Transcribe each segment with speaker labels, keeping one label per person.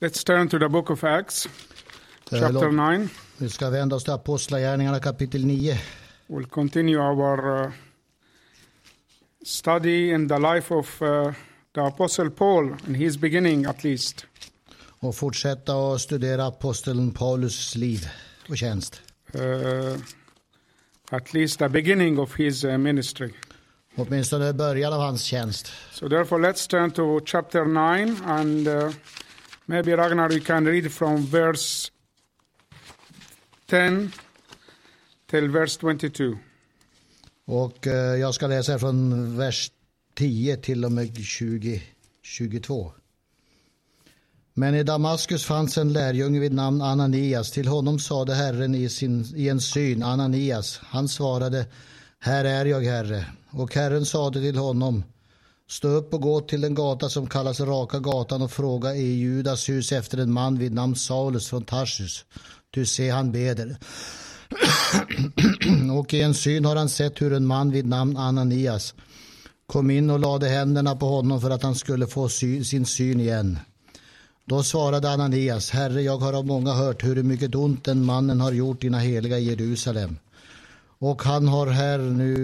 Speaker 1: Let's turn to the book of Acts,
Speaker 2: Eh,
Speaker 1: chapter
Speaker 2: låt-
Speaker 1: 9.
Speaker 2: Nu ska vi vända oss till Apostlagärningarna kapitel 9.
Speaker 1: We'll continue our uh, study in the life of uh, the Apostle Paul, in his beginning at least.
Speaker 2: och fortsätta att studera aposteln Paulus liv och tjänst.
Speaker 1: Uh, at least the beginning of his uh, ministry.
Speaker 2: Åtminstone början av hans tjänst.
Speaker 1: So, therefore, let's turn to chapter 9, and uh, maybe Ragnar, you can read from verse 10 till verse 22.
Speaker 2: Och eh, jag ska läsa från vers 10 till och med 20, 22. Men i Damaskus fanns en lärjunge vid namn Ananias. Till honom sade Herren i, sin, i en syn, Ananias. Han svarade, här är jag, Herre. Och Herren sade till honom, stå upp och gå till den gata som kallas Raka gatan och fråga i Judas hus efter en man vid namn Saulus från Tarsus. Du se, han beder. Mm, och i en syn har han sett hur en man vid namn Ananias kom in och lade händerna på honom för att han skulle få sy- sin syn igen. Då svarade Ananias, Herre, jag har av många hört hur mycket ont den mannen har gjort dina heliga i Jerusalem. Och han har här nu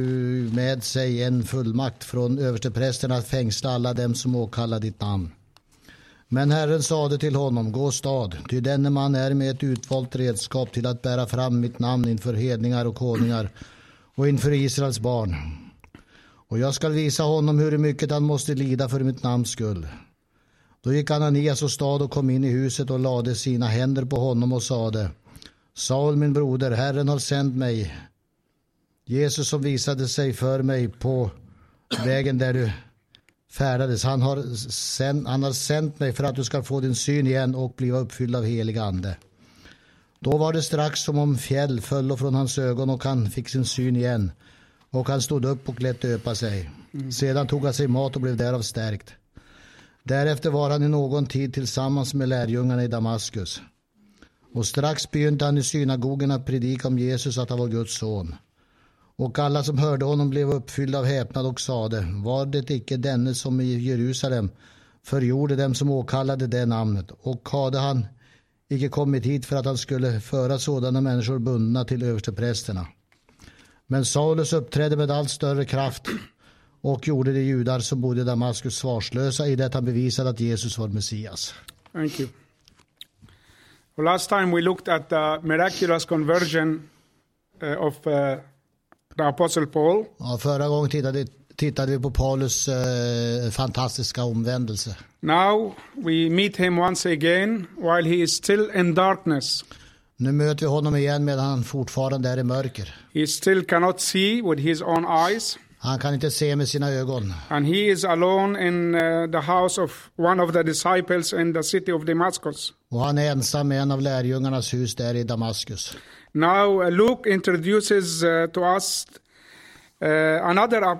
Speaker 2: med sig en fullmakt från översteprästen att fängsla alla dem som åkallar ditt namn. Men Herren sade till honom, gå stad, ty denne man är med ett utvalt redskap till att bära fram mitt namn inför hedningar och konungar och inför Israels barn. Och jag skall visa honom hur mycket han måste lida för mitt namns skull. Då gick Ananias och stad och kom in i huset och lade sina händer på honom och sade Saul min broder, Herren har sänt mig. Jesus som visade sig för mig på vägen där du färdades. Han har, sänd, han har sänt mig för att du ska få din syn igen och bliva uppfylld av helig ande. Då var det strax som om fjäll föll från hans ögon och han fick sin syn igen. Och han stod upp och lät döpa sig. Sedan tog han sig mat och blev därav stärkt. Därefter var han i någon tid tillsammans med lärjungarna i Damaskus. Och strax begynte han i synagogen att predika om Jesus att han var Guds son. Och alla som hörde honom blev uppfyllda av häpnad och sade, var det icke denne som i Jerusalem förgjorde dem som åkallade det namnet? Och hade han icke kommit hit för att han skulle föra sådana människor bundna till översteprästerna? Men Saulus uppträdde med allt större kraft och gjorde de judar som bodde i Damaskus svarslösa i det han bevisade att Jesus var Messias.
Speaker 1: Thank you. Well, last time we looked at the miraculous conversion uh, of uh, the Apostle Paul,
Speaker 2: Ja, förra gången tittade, tittade vi på Paulus eh, fantastiska omvändelse.
Speaker 1: Now we meet him once again while he is still in darkness.
Speaker 2: Nu möter vi honom igen medan han fortfarande är i mörker.
Speaker 1: He still cannot see with his own eyes,
Speaker 2: Han kan inte se med sina ögon.
Speaker 1: and he is alone in uh, the house of one of the disciples in the city of Damascus.
Speaker 2: Och han är ensam i en av lärjungarnas hus där i Damaskus.
Speaker 1: Now uh, Luke introduces uh, to us uh, another uh,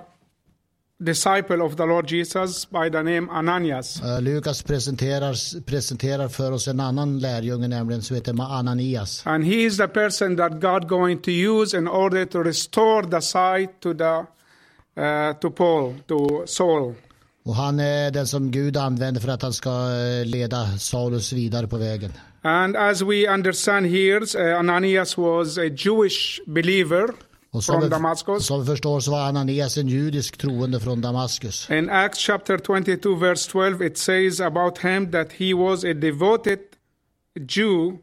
Speaker 1: disciple of the Lord Jesus by the name Ananias.
Speaker 2: Eh, Lukas presenterar, presenterar för oss en annan lärjunge, nämligen som heter Ananias.
Speaker 1: And he is the person that God going to use in order to restore the sight to the uh, to Paul, to Saul.
Speaker 2: Och han är den som Gud använder för att han ska eh, leda Saulus vidare på vägen.
Speaker 1: And as we understand here, uh, Ananias was a Jewish believer
Speaker 2: Och
Speaker 1: Från
Speaker 2: vi-
Speaker 1: Damaskus.
Speaker 2: Som vi förstår så var Ananias en judisk troende från Damaskus.
Speaker 1: In Acts chapter 22, verse 12, it says about him that he was a devoted Jew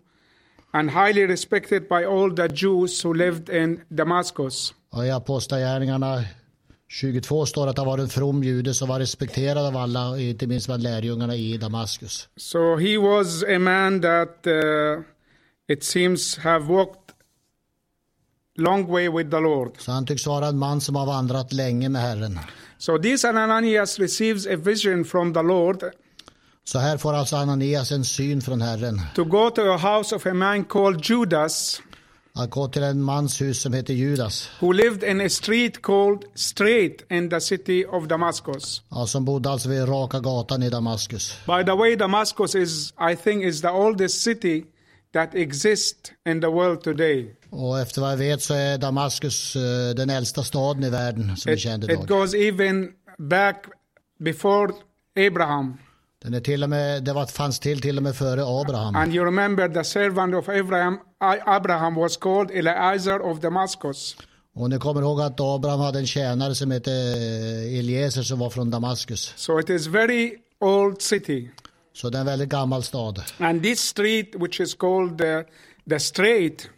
Speaker 1: and highly respected by all the Jews who lived in Damascus.
Speaker 2: Och I Apostlagärningarna 22 står att han var en from jude som var respekterad av alla, inte minst bland lärjungarna i Damaskus.
Speaker 1: So he was a man that uh, it seems have walked long way with the Lord.
Speaker 2: Så han tycks vara en man som har vandrat länge med Herren.
Speaker 1: So this Ananias receives a vision from the Lord
Speaker 2: Så här får alltså Ananias en syn från Herren.
Speaker 1: to go to a house of a man called Judas
Speaker 2: Att gå till en mans hus som heter Judas,
Speaker 1: who lived in a street called Straight in the city of Damascus.
Speaker 2: ja, som bodde alltså vid Raka gatan i Damaskus.
Speaker 1: By the way, Damascus is, I think, is the oldest city that exists in the world today.
Speaker 2: Och efter vad jag vet så är Damaskus eh, den äldsta staden i världen som vi
Speaker 1: It,
Speaker 2: kände
Speaker 1: it
Speaker 2: idag.
Speaker 1: goes even back before Abraham.
Speaker 2: Den är till och med, det var, fanns till till och med före Abraham.
Speaker 1: And you remember the servant of Abraham, I- Abraham was called Eliezer of Damascus.
Speaker 2: Och ni kommer ihåg att Abraham hade en tjänare som hette eh, Eliezer som var från Damaskus.
Speaker 1: So it is very old city.
Speaker 2: Så det är en väldigt gammal stad.
Speaker 1: And this street, which is called uh, the Strait,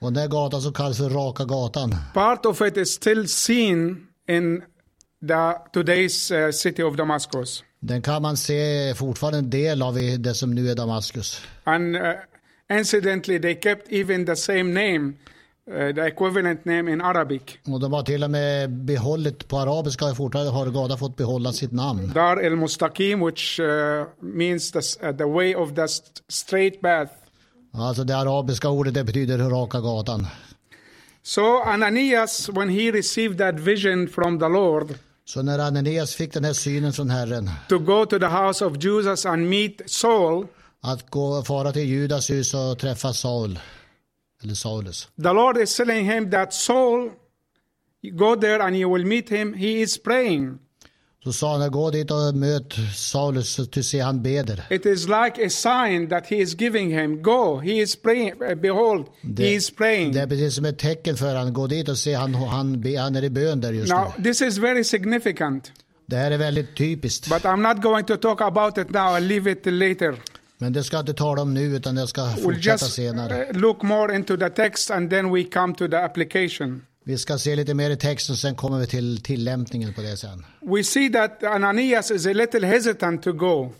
Speaker 2: Och den här gatan som kallas för Raka gatan.
Speaker 1: part of it is still seen in the today's uh, city of Damascus.
Speaker 2: Den kan man se fortfarande en del av i det som nu är Damaskus.
Speaker 1: And uh, incidentally, they kept even the same name, uh, the equivalent name in Arabic,
Speaker 2: Och de har till och med behållit, på arabiska har fortfarande har gatan fått behålla sitt namn.
Speaker 1: Dar el Mustaqim, which uh, means the, s- uh, the way of the st- straight path.
Speaker 2: Alltså det arabiska ordet det betyder Raka gatan.
Speaker 1: So Ananias, when he received that vision from the Lord
Speaker 2: Så när Ananias fick den här synen från Herren,
Speaker 1: to go to the house of Jesus and meet Saul,
Speaker 2: att gå, fara till Judas hus och träffa Saul, eller Saulus.
Speaker 1: the Lord is telling him that Saul, you go there and you will meet him. He is praying.
Speaker 2: Så sa han, gå dit och möt Saulus, så du ser han beder.
Speaker 1: It is like a sign that he is giving him. Go, he is praying. Uh, Behold, he is praying.
Speaker 2: Det är precis som ett tecken för han, gå dit och se han, han, be- han är i bön där just nu.
Speaker 1: Now, this is very significant,
Speaker 2: Det här är väldigt typiskt.
Speaker 1: but I'm not going to talk about it now. I'll leave it till later.
Speaker 2: Men det ska jag inte tala om nu utan det ska
Speaker 1: We'll
Speaker 2: fortsätta
Speaker 1: just
Speaker 2: senare.
Speaker 1: uh, look more into the text and then we come to the application.
Speaker 2: Vi ska se lite mer i texten sen kommer vi till tillämpningen på det sen.
Speaker 1: We see that Ananias is a little hesitant to go.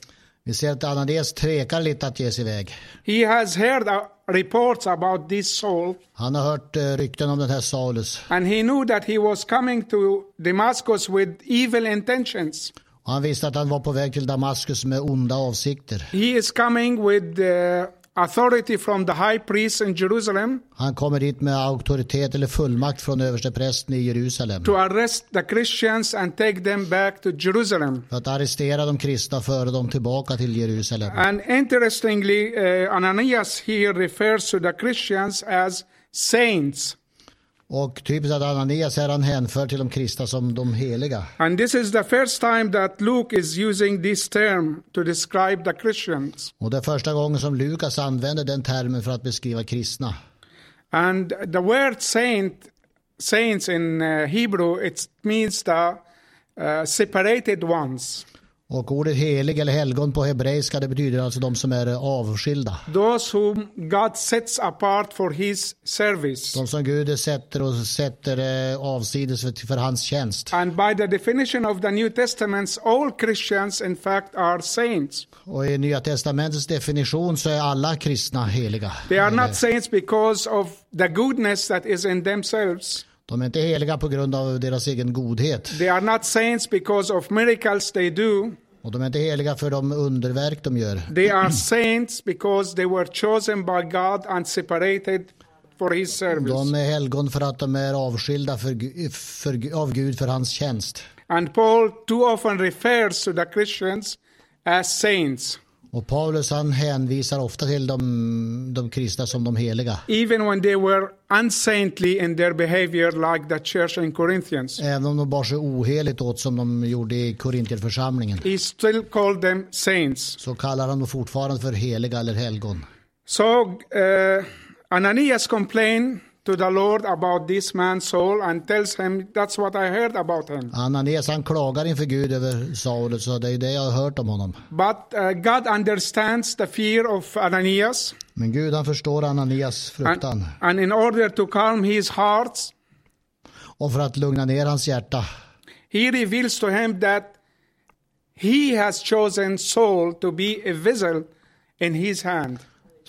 Speaker 2: Vi ser att Ananias tvekar lite att ge sig iväg.
Speaker 1: He has heard uh, reports about this Saul,
Speaker 2: Han har hört eh, rykten om den här Saulus.
Speaker 1: and he knew that he was coming to Damascus with evil intentions.
Speaker 2: Och han visste att han var på väg till Damaskus med onda avsikter.
Speaker 1: He is coming with uh, authority from the high priest in Jerusalem
Speaker 2: Han kommer dit med auktoritet eller fullmakt från översteprästen i Jerusalem.
Speaker 1: to arrest the Christians and take them back to Jerusalem.
Speaker 2: För att arrestera de kristna och föra dem tillbaka till Jerusalem.
Speaker 1: And interestingly, uh, Ananias here refers to the Christians as saints.
Speaker 2: Och typiskt att Ananias här han hänför till de kristna som de heliga.
Speaker 1: And this is the first time that Luke is using this term to describe the Christians.
Speaker 2: Och det är första gången som Lukas använder den termen för att beskriva kristna.
Speaker 1: And the word saint, saints in uh, Hebrew, it means the uh, separated ones,
Speaker 2: Och ordet helig eller helgon på hebreiska det betyder alltså de som är avskilda.
Speaker 1: those whom God sets apart for his service.
Speaker 2: De som Gud sätter och sätter eh, avsides för, för hans tjänst.
Speaker 1: And by the definition of the New Testament, all Christians, in fact, are saints.
Speaker 2: Och i Nya Testamentets definition så är alla kristna heliga.
Speaker 1: They are
Speaker 2: Eller,
Speaker 1: not saints because of the goodness that is in themselves.
Speaker 2: De är inte heliga på grund av deras egen godhet.
Speaker 1: They are not saints because of miracles they do.
Speaker 2: Och de är inte heliga för de underverk de gör.
Speaker 1: They are saints because they were chosen by God and separated for his service.
Speaker 2: De är helgon för att de är avskilda för, Gu- för, av Gud för hans tjänst.
Speaker 1: And Paul too often refers to the Christians as saints,
Speaker 2: Och Paulus han hänvisar ofta till de, de kristna som de heliga.
Speaker 1: even when they were unsaintly in their behavior, like the church in Corinthians.
Speaker 2: Även om de bar sig oheligt åt som de gjorde i Korintierförsamlingen
Speaker 1: He still called them saints.
Speaker 2: så kallar han dem fortfarande för heliga eller helgon.
Speaker 1: So uh, Ananias complained to the Lord about this man's soul and tells him, That's what I heard about him.
Speaker 2: Ananias han klagar inför Gud över Saulus så det är det jag har hört om honom.
Speaker 1: But uh, God understands the fear of Ananias.
Speaker 2: Men Gud han förstår Ananias fruktan
Speaker 1: And, and in order to calm his heart,
Speaker 2: och för att lugna ner hans hjärta
Speaker 1: he reveals to him that he has chosen Saul to be a vessel in his hand.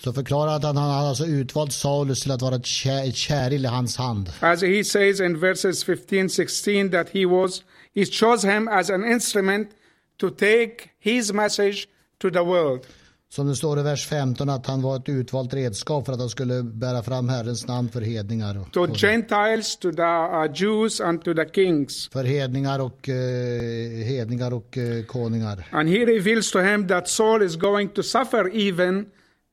Speaker 2: så förklarar han att han har alltså utvalt Saulus till att vara ett kä- ett käril i hans hand.
Speaker 1: As he says in verses 15, 16, that he was, he chose him as an instrument to take his message to the world.
Speaker 2: Som det står i vers 15 att han var ett utvalt redskap för att han skulle bära fram Herrens namn för hedningar. och-
Speaker 1: To
Speaker 2: och-
Speaker 1: Gentiles, to the uh, Jews, and to the kings.
Speaker 2: För hedningar och, eh, hedningar och eh, konungar.
Speaker 1: And he reveals to him that Saul is going to suffer even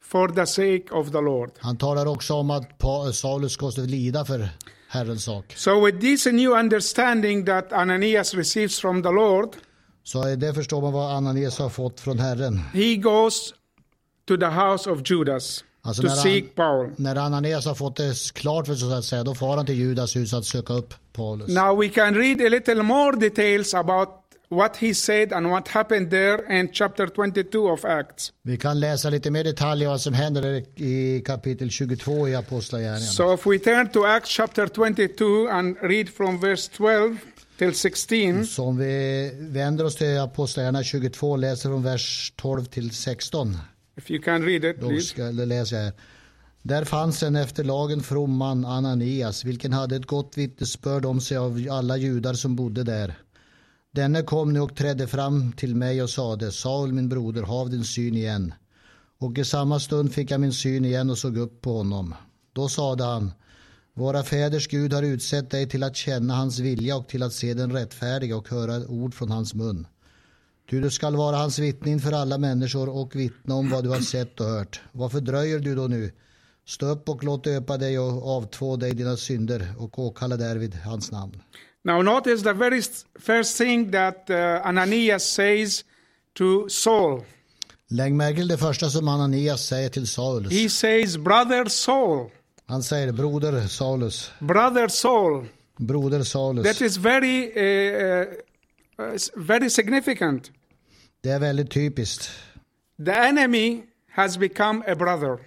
Speaker 1: for the sake of the Lord.
Speaker 2: Han talar också om att Pa- Saulus ska lida för Herrens sak.
Speaker 1: So, with this new understanding that Ananias receives from the Lord,
Speaker 2: Så eh, det förstår man vad Ananias har fått från Herren.
Speaker 1: He goes to the house of Judas
Speaker 2: Also
Speaker 1: to
Speaker 2: not on-
Speaker 1: seek Paul.
Speaker 2: När Ananias har fått det klart för sig, så att säga, då far han till Judas hus att söka upp Paulus.
Speaker 1: Now we can read a little more details about what he said and what happened there in chapter 22 of Acts.
Speaker 2: Vi kan läsa lite mer detaljer vad som händer i kapitel 22 i Apostlagärningarna.
Speaker 1: So if we turn to Acts chapter 22 and read from verse 12 till 16,
Speaker 2: Så om vi vänder oss till Apostlagärningarna 22 och läser från vers 12 till 16.
Speaker 1: if you can read it,
Speaker 2: Då
Speaker 1: please.
Speaker 2: ska, eller läser jag här. Där fanns en efter lagen from man, Ananias, vilken hade ett gott vittnesbörd om sig av alla judar som bodde där. Denne kom nu och trädde fram till mig och sade, Saul min broder, hav din syn igen. Och i samma stund fick jag min syn igen och såg upp på honom. Då sade han, våra fäders Gud har utsett dig till att känna hans vilja och till att se den rättfärdiga och höra ord från hans mun. Ty du skall vara hans vittne inför alla människor och vittna om vad du har sett och hört. Varför dröjer du då nu? Stå upp och låt döpa dig och avtvå dig dina synder och åkalla därvid hans namn.
Speaker 1: Now notice the very s- first thing that uh, Ananias says to Saul.
Speaker 2: Lägg märke till det första som Ananias säger till Saulus.
Speaker 1: He says, "Brother Saul,
Speaker 2: Han säger broder Saulus,
Speaker 1: brother Saul."
Speaker 2: broder Saulus.
Speaker 1: That is very uh, uh, uh, s- very significant.
Speaker 2: Det är väldigt typiskt.
Speaker 1: The enemy has become a brother.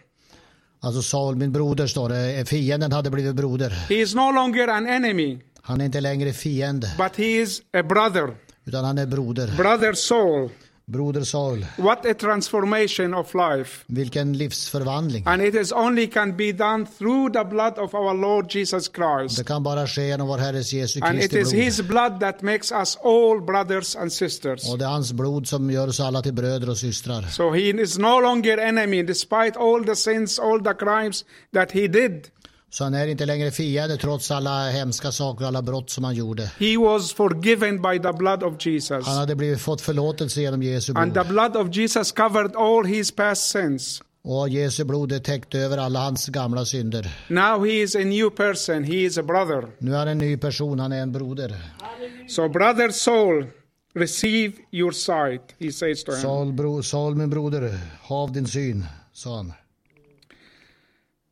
Speaker 2: Alltså Saul, min broder står det. Eh, Fienden hade blivit broder.
Speaker 1: He is no longer an enemy,
Speaker 2: Han är inte längre fiende,
Speaker 1: but he is a brother.
Speaker 2: utan han är broder.
Speaker 1: Brother Saul.
Speaker 2: Broder Saul.
Speaker 1: What a transformation of life.
Speaker 2: Vilken livsförvandling.
Speaker 1: And it is only can be done through the blood of our Lord Jesus Christ.
Speaker 2: Det kan bara ske genom vår Herres Jesu
Speaker 1: And it
Speaker 2: Kristi
Speaker 1: is
Speaker 2: blod.
Speaker 1: his blood that makes us all brothers and sisters.
Speaker 2: Och det är hans blod som gör oss alla till bröder och systrar.
Speaker 1: So he is no longer enemy despite all the sins, all the crimes that he did.
Speaker 2: Så han är inte längre fiende trots alla hemska saker och alla brott som han gjorde.
Speaker 1: He was forgiven by the blood of Jesus.
Speaker 2: Han hade blivit fått förlåtelse genom Jesu
Speaker 1: And the
Speaker 2: blod.
Speaker 1: blood of Jesus covered all his past sins.
Speaker 2: Och Jesu blod är täckt över alla hans gamla synder.
Speaker 1: Now he is a new person. He is a brother.
Speaker 2: Nu är han en ny person, han är en broder.
Speaker 1: So, brother Saul, receive your sight, he says to him.
Speaker 2: Saul, bro, Saul min broder, hav din syn, sa han.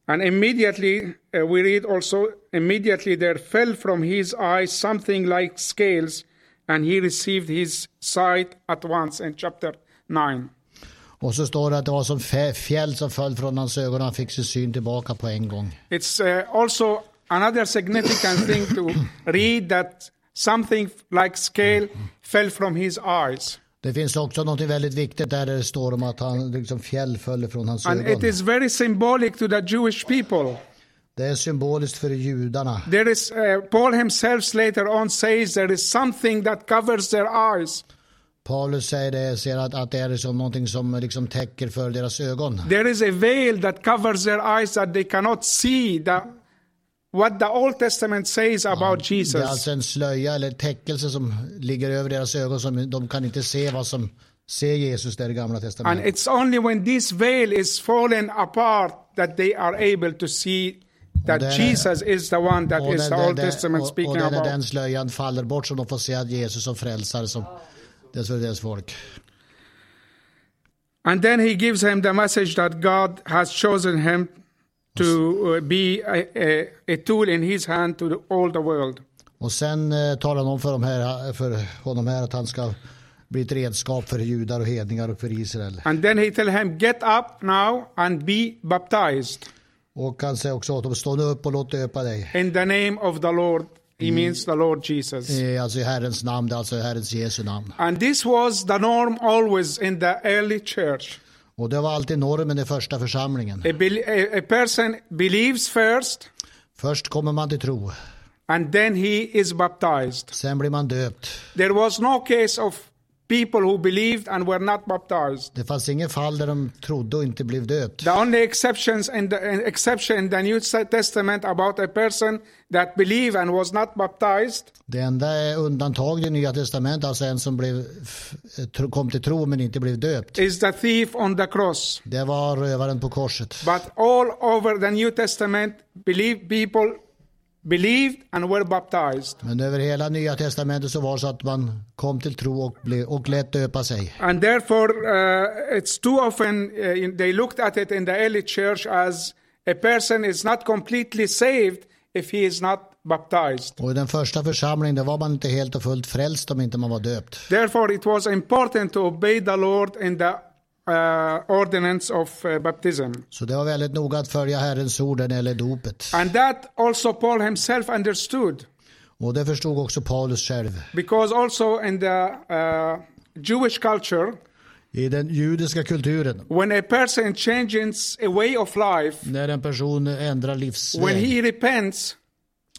Speaker 1: And immediately, uh, we read also, immediately there fell from his eyes something like scales, and he received his sight at once in chapter 9.
Speaker 2: Och så står det att det var som fä- fjäll som föll från hans ögon och han fick sin syn tillbaka på en gång.
Speaker 1: It's uh, also another significant thing to read that something like scale fell from his eyes.
Speaker 2: Det finns också något väldigt viktigt där det står om att han liksom fjäll föll från hans
Speaker 1: And it
Speaker 2: ögon.
Speaker 1: is very symbolic to the Jewish people.
Speaker 2: Det är symboliskt för judarna.
Speaker 1: There is uh, Paul himself later on says there is something that covers their eyes.
Speaker 2: Paulus säger det, ser att, att det är som någonting som liksom täcker för deras ögon.
Speaker 1: There is a veil that covers their eyes that they cannot see the, what the Old Testament says about
Speaker 2: Det är
Speaker 1: Jesus.
Speaker 2: alltså en slöja eller täckelse som ligger över deras ögon som de kan inte se vad som ser Jesus där i gamla
Speaker 1: And
Speaker 2: testamentet.
Speaker 1: it's only when this veil is fallen apart that they are able to see that
Speaker 2: there-
Speaker 1: Jesus is the one that
Speaker 2: Och
Speaker 1: is
Speaker 2: när,
Speaker 1: the Old
Speaker 2: när,
Speaker 1: Testament
Speaker 2: och, och
Speaker 1: speaking
Speaker 2: när den
Speaker 1: about.
Speaker 2: slöjan faller bort så de får se att Jesus som frälsare som det för deras folk.
Speaker 1: And then he gives him the message that God has chosen him to uh, be a, a, a tool in his hand to the, all the world.
Speaker 2: Och sen eh, talar han om för, de här, för honom här att han ska bli ett redskap för judar och hedningar och för Israel.
Speaker 1: And then he tell him, get up now and be baptized
Speaker 2: Och han säger också åt dem, stå nu upp och låt döpa dig.
Speaker 1: in the name of the Lord. He means the Lord Jesus.
Speaker 2: Eh, Alltså i Herrens namn, det är alltså i Herrens Jesu namn.
Speaker 1: And this was the norm always in the early church.
Speaker 2: Och det var alltid normen i första församlingen.
Speaker 1: A, bel a, a person believes first
Speaker 2: Först kommer man till tro,
Speaker 1: and then he is baptized.
Speaker 2: sen blir man döpt.
Speaker 1: There was no case of people who believed and were not baptized.
Speaker 2: Det fanns ingen fall där de trodde och inte blev döpt.
Speaker 1: The only exceptions in the uh, exception in the New Testament about a person that believed and was not baptized
Speaker 2: Det enda är undantag i det nya testamentet, alltså en som blev, f- tro- kom till tro men inte blev döpt.
Speaker 1: is the thief on the cross.
Speaker 2: Det var rövaren på korset.
Speaker 1: But all over the New Testament, believe people believed and were baptized.
Speaker 2: Men över hela nya testamentet så var det så att man kom till tro och, blev, och lät döpa sig.
Speaker 1: And therefore, uh, it's too often uh, in- they looked at it in the early church as a person is not completely saved if he is not baptized.
Speaker 2: Och i den första församlingen där var man inte helt och fullt frälst om inte man var döpt.
Speaker 1: Therefore, it was important to obey the Lord in the uh, ordinance of uh, baptism.
Speaker 2: Så det var väldigt noga att följa Herrens ord när det gäller dopet.
Speaker 1: And that also Paul himself understood,
Speaker 2: Och det förstod också Paulus själv.
Speaker 1: because also in the uh, Jewish culture,
Speaker 2: I den judiska kulturen,
Speaker 1: when a person changes a way of life,
Speaker 2: när en person ändrar
Speaker 1: when
Speaker 2: livsväg,
Speaker 1: he repents,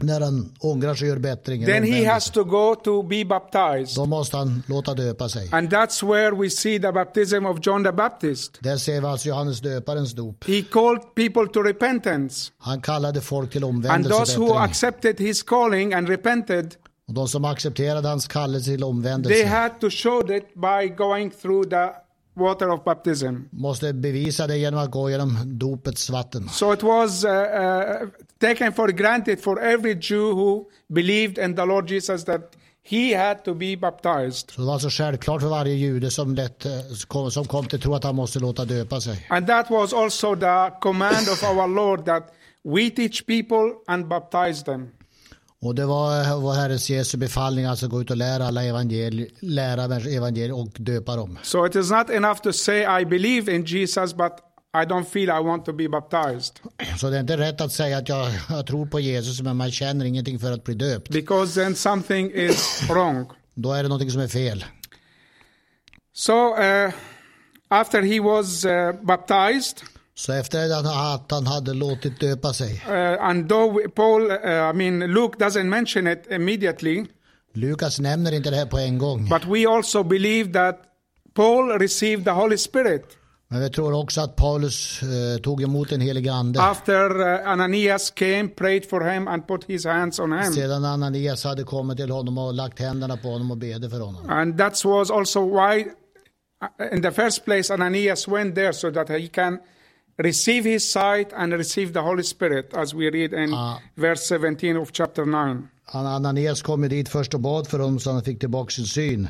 Speaker 2: när han ångrar sig och gör bättring,
Speaker 1: then he
Speaker 2: omvänder
Speaker 1: has
Speaker 2: sig,
Speaker 1: to go to be baptized.
Speaker 2: då måste han låta döpa sig.
Speaker 1: And that's where we see the baptism of John the Baptist.
Speaker 2: Där ser vi alltså Johannes döparens dop.
Speaker 1: He called people to repentance.
Speaker 2: Han kallade folk till
Speaker 1: And
Speaker 2: omvändelse och
Speaker 1: those who
Speaker 2: bättring.
Speaker 1: accepted his calling and repented,
Speaker 2: Och de som accepterade hans kallelse till
Speaker 1: they
Speaker 2: omvändelse
Speaker 1: had to show that by going through the water of baptism.
Speaker 2: måste bevisa det genom att gå genom dopets vatten.
Speaker 1: So it was uh, uh, taken for granted for every Jew who believed in the Lord Jesus that he had to be baptized.
Speaker 2: Så det var alltså självklart för varje jude som, lät, eh, kom- som kom till tro att han måste låta döpa sig.
Speaker 1: And that was also the command of our Lord that we teach people and baptize them.
Speaker 2: Och det var eh, vår Herres Jesu befallning, alltså gå ut och lära alla evangelier, lära människor evangelier och döpa dem.
Speaker 1: So it is not enough to say, I believe in Jesus, but I don't feel I want to be baptized.
Speaker 2: Så det är inte rätt att säga att jag, jag tror på Jesus men man känner ingenting för att bli döpt.
Speaker 1: Because then something is wrong.
Speaker 2: Då är det någonting som är fel.
Speaker 1: So uh, after he was uh, baptized,
Speaker 2: Så efter att han- att han hade låtit döpa sig.
Speaker 1: uh, and though we- Paul, uh, I mean, Luke doesn't mention it immediately,
Speaker 2: Lukas nämner inte det här på en gång.
Speaker 1: but we also believe that Paul received the Holy Spirit
Speaker 2: Men vi tror också att Paulus eh, tog emot den helige ande.
Speaker 1: after uh, Ananias came, prayed for him, and put his hands on him.
Speaker 2: Sedan Ananias hade kommit till honom och lagt händerna på honom och bedde för honom.
Speaker 1: And that was also why, uh, in the first place, Ananias went there so that he can receive his sight and receive the Holy Spirit, as we read in
Speaker 2: Ah.
Speaker 1: verse 17 of chapter 9.
Speaker 2: Han- Ananias kom ju dit först och bad för honom så han fick tillbaka sin syn.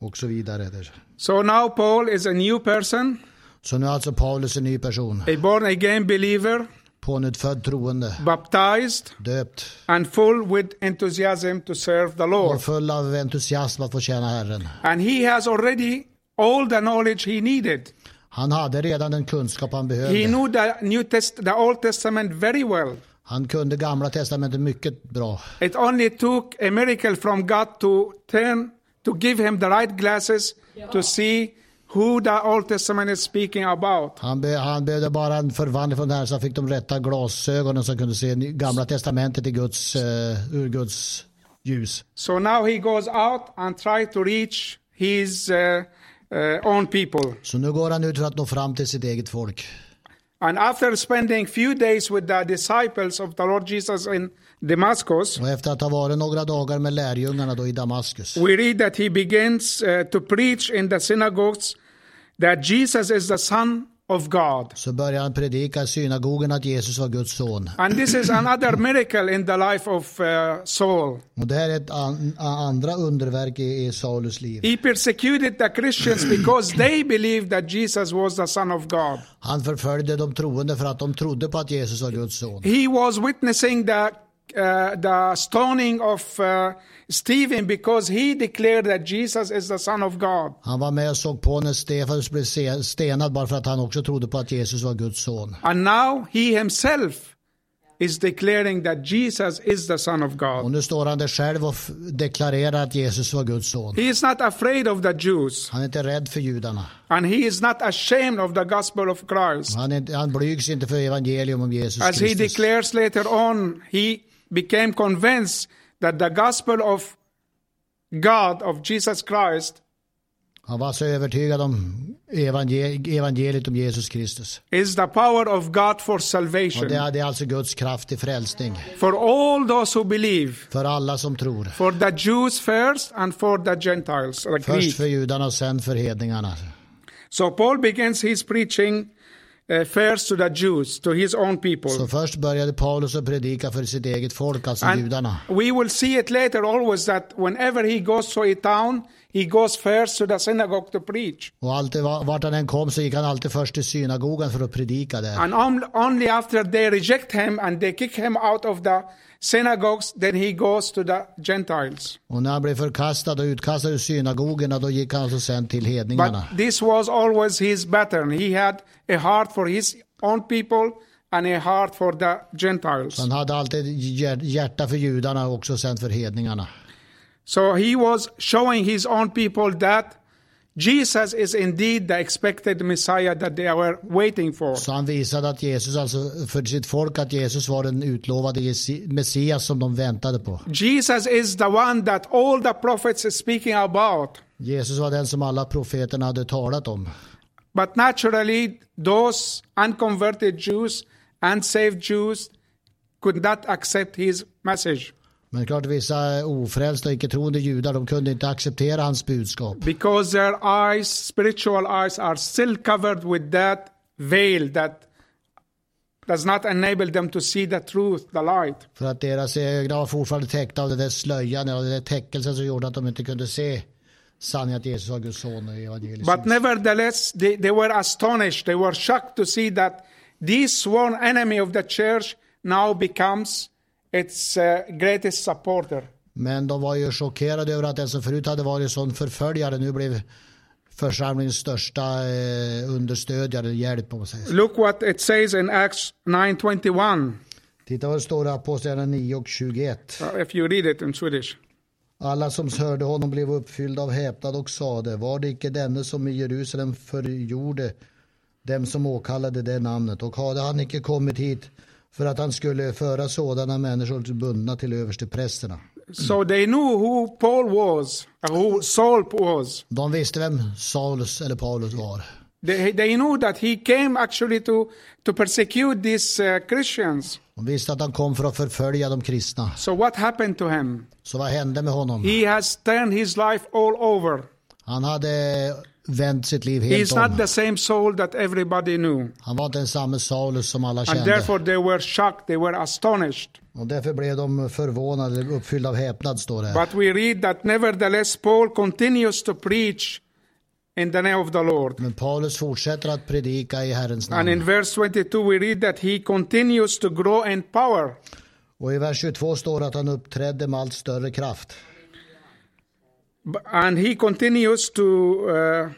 Speaker 2: Och så vidare. där.
Speaker 1: So now Paul is a new person,
Speaker 2: Så nu är alltså Paulus en ny person.
Speaker 1: a born again believer,
Speaker 2: Pånyttfödd troende.
Speaker 1: baptized,
Speaker 2: Döpt.
Speaker 1: and full with enthusiasm to serve the Lord.
Speaker 2: Och full av entusiasm att få tjäna Herren.
Speaker 1: And he has already all the knowledge he needed.
Speaker 2: Han hade redan den kunskap han
Speaker 1: He
Speaker 2: behövde.
Speaker 1: knew the New Test, the Old Testament very well.
Speaker 2: Han kunde gamla testamentet mycket bra.
Speaker 1: It only took a miracle from God to turn to give him the right glasses to see who the Old Testament is speaking about.
Speaker 2: Han, be, han behövde bara en förvandling från Herren så han fick de rätta glasögonen som kunde se ny- gamla testamentet i Guds, eh, ur Guds ljus.
Speaker 1: So now he goes out and try to reach his uh, uh, own people.
Speaker 2: Så nu går han ut för att nå fram till sitt eget folk.
Speaker 1: And after spending few days with the disciples of the Lord Jesus in Damascus,
Speaker 2: Och efter att ha varit några dagar med lärjungarna då i Damaskus
Speaker 1: we read that he begins uh, to preach in the synagogues that Jesus is the Son of God.
Speaker 2: så började han predika i synagogen att Jesus var Guds son.
Speaker 1: And this is another miracle in the life of uh, Saul.
Speaker 2: Och det här är ett an, a- andra underverk i, i Saulus liv.
Speaker 1: He persecuted the Christians because they believed that Jesus was the Son of God.
Speaker 2: Han förföljde de troende för att de trodde på att Jesus var Guds son.
Speaker 1: He was witnessing the uh, the stoning of uh, Stephen because he declared that Jesus is the Son of God.
Speaker 2: Han var med och såg på när Stefanus blev se- stenad bara för att han också trodde på att Jesus var Guds son.
Speaker 1: And now he himself is declaring that Jesus is the Son of
Speaker 2: Och
Speaker 1: God.
Speaker 2: nu står han där själv och f- deklarerar att Jesus var Guds son.
Speaker 1: He is not afraid of the Jews
Speaker 2: Han är inte rädd för judarna.
Speaker 1: and he is not ashamed of the gospel of Christ.
Speaker 2: Han, är, inte- han blygs inte för evangelium om Jesus
Speaker 1: As Alltså, he
Speaker 2: Kristus.
Speaker 1: declares later on, he became convinced that the gospel of God, of Jesus Christ,
Speaker 2: Han var så övertygad om evangel- evangeliet om Jesus Kristus.
Speaker 1: is the power of God for
Speaker 2: Och
Speaker 1: salvation
Speaker 2: det, är- det är alltså Guds kraft till frälsning.
Speaker 1: for all those who believe,
Speaker 2: För alla som tror.
Speaker 1: for the Jews first and for the Gentiles, the
Speaker 2: Först
Speaker 1: Greek.
Speaker 2: för judarna och sen för hedningarna.
Speaker 1: So Paul begins his preaching uh, first to the Jews, to his own people.
Speaker 2: Så först började Paulus att predika för sitt eget folk, alltså judarna.
Speaker 1: We will see it later always that whenever he goes to a town, he goes first to the synagogue to preach.
Speaker 2: Och alltid, va- vart han än kom så gick han alltid först till synagogan för att predika där.
Speaker 1: And on, only after they reject him and they kick him out of the synagogues, then he goes to the Gentiles.
Speaker 2: Och när han blev förkastad och utkastad ur synagogorna då gick han alltså sen till
Speaker 1: But
Speaker 2: hedningarna.
Speaker 1: this was always his pattern. He had a heart for his own people and a heart for the Gentiles.
Speaker 2: Han hade alltid hjär- hjärta för judarna och också sen för hedningarna.
Speaker 1: So he was showing his own people that Jesus is indeed the expected Messiah that they were waiting for.
Speaker 2: Så han visade att Jesus, alltså för sitt folk, att Jesus var den utlovade Jesi- Messias som de väntade på.
Speaker 1: Jesus is the one that all the prophets is speaking about.
Speaker 2: Jesus var den som alla profeterna hade talat om.
Speaker 1: But naturally, those unconverted Jews, unsaved Jews, could not accept his message
Speaker 2: Men klart vissa ofrälsta och icke-troende judar, de kunde inte acceptera hans budskap.
Speaker 1: because their eyes, spiritual eyes, are still covered with that veil that does not enable them to see the truth, the light.
Speaker 2: För att deras ögon var fortfarande täckta av den där slöjan, eller den där täckelsen som gjorde att de inte kunde se sanningen att Jesus var Guds son och evangelisk.
Speaker 1: But nevertheless, they, they were astonished. They were shocked to see that this sworn enemy of the church now becomes its uh, greatest supporter.
Speaker 2: Men de var ju chockerade över att den som förut hade varit en sån förföljare nu blev församlingens största eh, understödjare, hjälp om man säger så.
Speaker 1: Look what it says in Acts 9:21.
Speaker 2: Titta vad det står i Apostlagärningarna 9 och 21.
Speaker 1: Uh, if you read it in Swedish.
Speaker 2: Alla som hörde honom blev uppfyllda av häpnad och sade, var det icke denne som i Jerusalem förgjorde dem som åkallade det namnet? Och hade han icke kommit hit för att han skulle föra sådana människor bundna till översteprästerna?
Speaker 1: So they knew who Paul was, uh, who Saul was.
Speaker 2: De visste vem Saulus eller Paulus var.
Speaker 1: They, they knew that he came actually to, to persecute these uh, Christians.
Speaker 2: De visste att han kom för att förfölja de kristna.
Speaker 1: So what happened to him?
Speaker 2: Så vad hände med honom?
Speaker 1: He has turned his life all over.
Speaker 2: Han hade vänt sitt liv helt
Speaker 1: He's not
Speaker 2: om.
Speaker 1: the same Saul that everybody knew.
Speaker 2: Han var inte densamme Saulus som alla
Speaker 1: And
Speaker 2: kände.
Speaker 1: therefore they were shocked, they were astonished.
Speaker 2: Och därför blev de förvånade, uppfyllda av häpnad står det. här.
Speaker 1: But we read that nevertheless Paul continues to preach in the name of the Lord.
Speaker 2: Men Paulus fortsätter att predika i Herrens
Speaker 1: And
Speaker 2: namn.
Speaker 1: in verse 22, we read that he continues to grow in power.
Speaker 2: Och i vers 22 står det att han uppträdde med allt större kraft.
Speaker 1: B- And he continues to uh,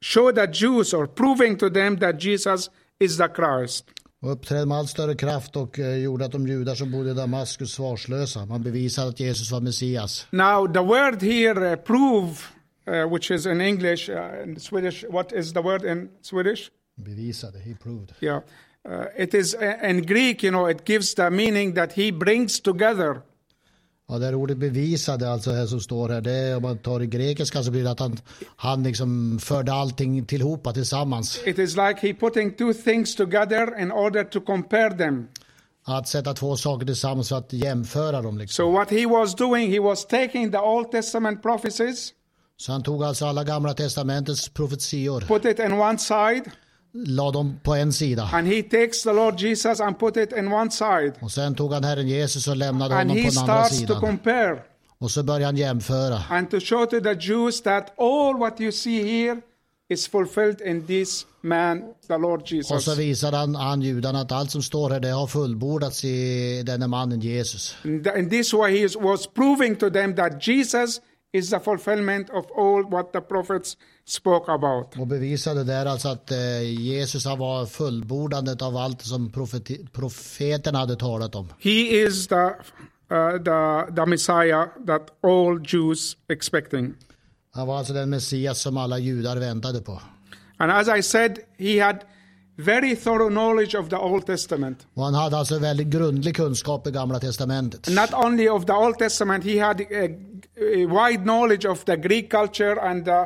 Speaker 1: show the Jews or proving to them that Jesus is the Christ.
Speaker 2: Och uppträdde med allt större kraft och eh, gjorde att de judar som bodde i Damaskus svarslösa. Man bevisade att Jesus var Messias.
Speaker 1: Now, the word here, uh, prove, uh, which is in English, uh, in Swedish, what is the word in Swedish?
Speaker 2: Bevisade, he proved.
Speaker 1: Yeah. Uh, it is uh, in Greek, you know, it gives the meaning that he brings together.
Speaker 2: Ja, det här ordet bevisade, alltså här som står här, det är, om man tar det grekiska så blir det att han, han liksom förde allting tillhopa tillsammans.
Speaker 1: It is like he putting two things together in order to compare them.
Speaker 2: Att sätta två saker tillsammans för att jämföra dem. Liksom.
Speaker 1: So what he was doing, he was taking the Old Testament prophecies,
Speaker 2: Så han tog alltså alla gamla testamentets profetior,
Speaker 1: put it in one side,
Speaker 2: la dem på en sida.
Speaker 1: and he takes the Lord Jesus and put it in one side,
Speaker 2: Och sen tog han Herren Jesus och lämnade
Speaker 1: and
Speaker 2: honom
Speaker 1: he
Speaker 2: på den andra
Speaker 1: starts to
Speaker 2: sidan.
Speaker 1: compare
Speaker 2: Och så började han jämföra.
Speaker 1: and to show to the Jews that all what you see here is fulfilled in this man, the Lord
Speaker 2: Och så
Speaker 1: Jesus.
Speaker 2: visade han, han judarna att allt som står här det har fullbordats i denne mannen Jesus.
Speaker 1: And th- in this way, he is- was proving to them that Jesus is the fulfillment of all what the prophets spoke about.
Speaker 2: Och bevisade där alltså att eh, Jesus han var fullbordandet av allt som profeti- profeterna hade talat om.
Speaker 1: He is the uh, the the Messiah that all Jews expecting.
Speaker 2: Han var alltså den Messias som alla judar väntade på.
Speaker 1: And as I said, he had very thorough knowledge of the Old Testament.
Speaker 2: Och han hade alltså väldigt grundlig kunskap i Gamla Testamentet.
Speaker 1: Not only of the Old Testament, he had a, a wide knowledge of the Greek culture and the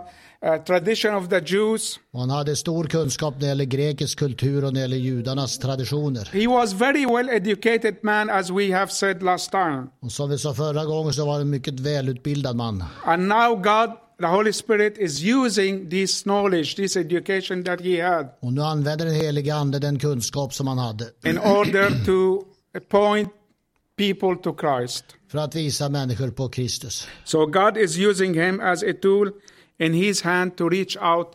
Speaker 1: uh, tradition of the Jews.
Speaker 2: Och han hade stor kunskap när det gäller grekisk kultur och när det gäller judarnas traditioner.
Speaker 1: He was very well educated man, as we have said last time.
Speaker 2: Och som vi sa förra gången så var han en mycket välutbildad man.
Speaker 1: And now God The Holy Spirit is using this knowledge, this education that he had,
Speaker 2: Och nu använder den heliga ande den kunskap som han hade
Speaker 1: in order to point people to Christ.
Speaker 2: för att visa människor på Kristus.
Speaker 1: So God is using him as a tool in his hand to reach out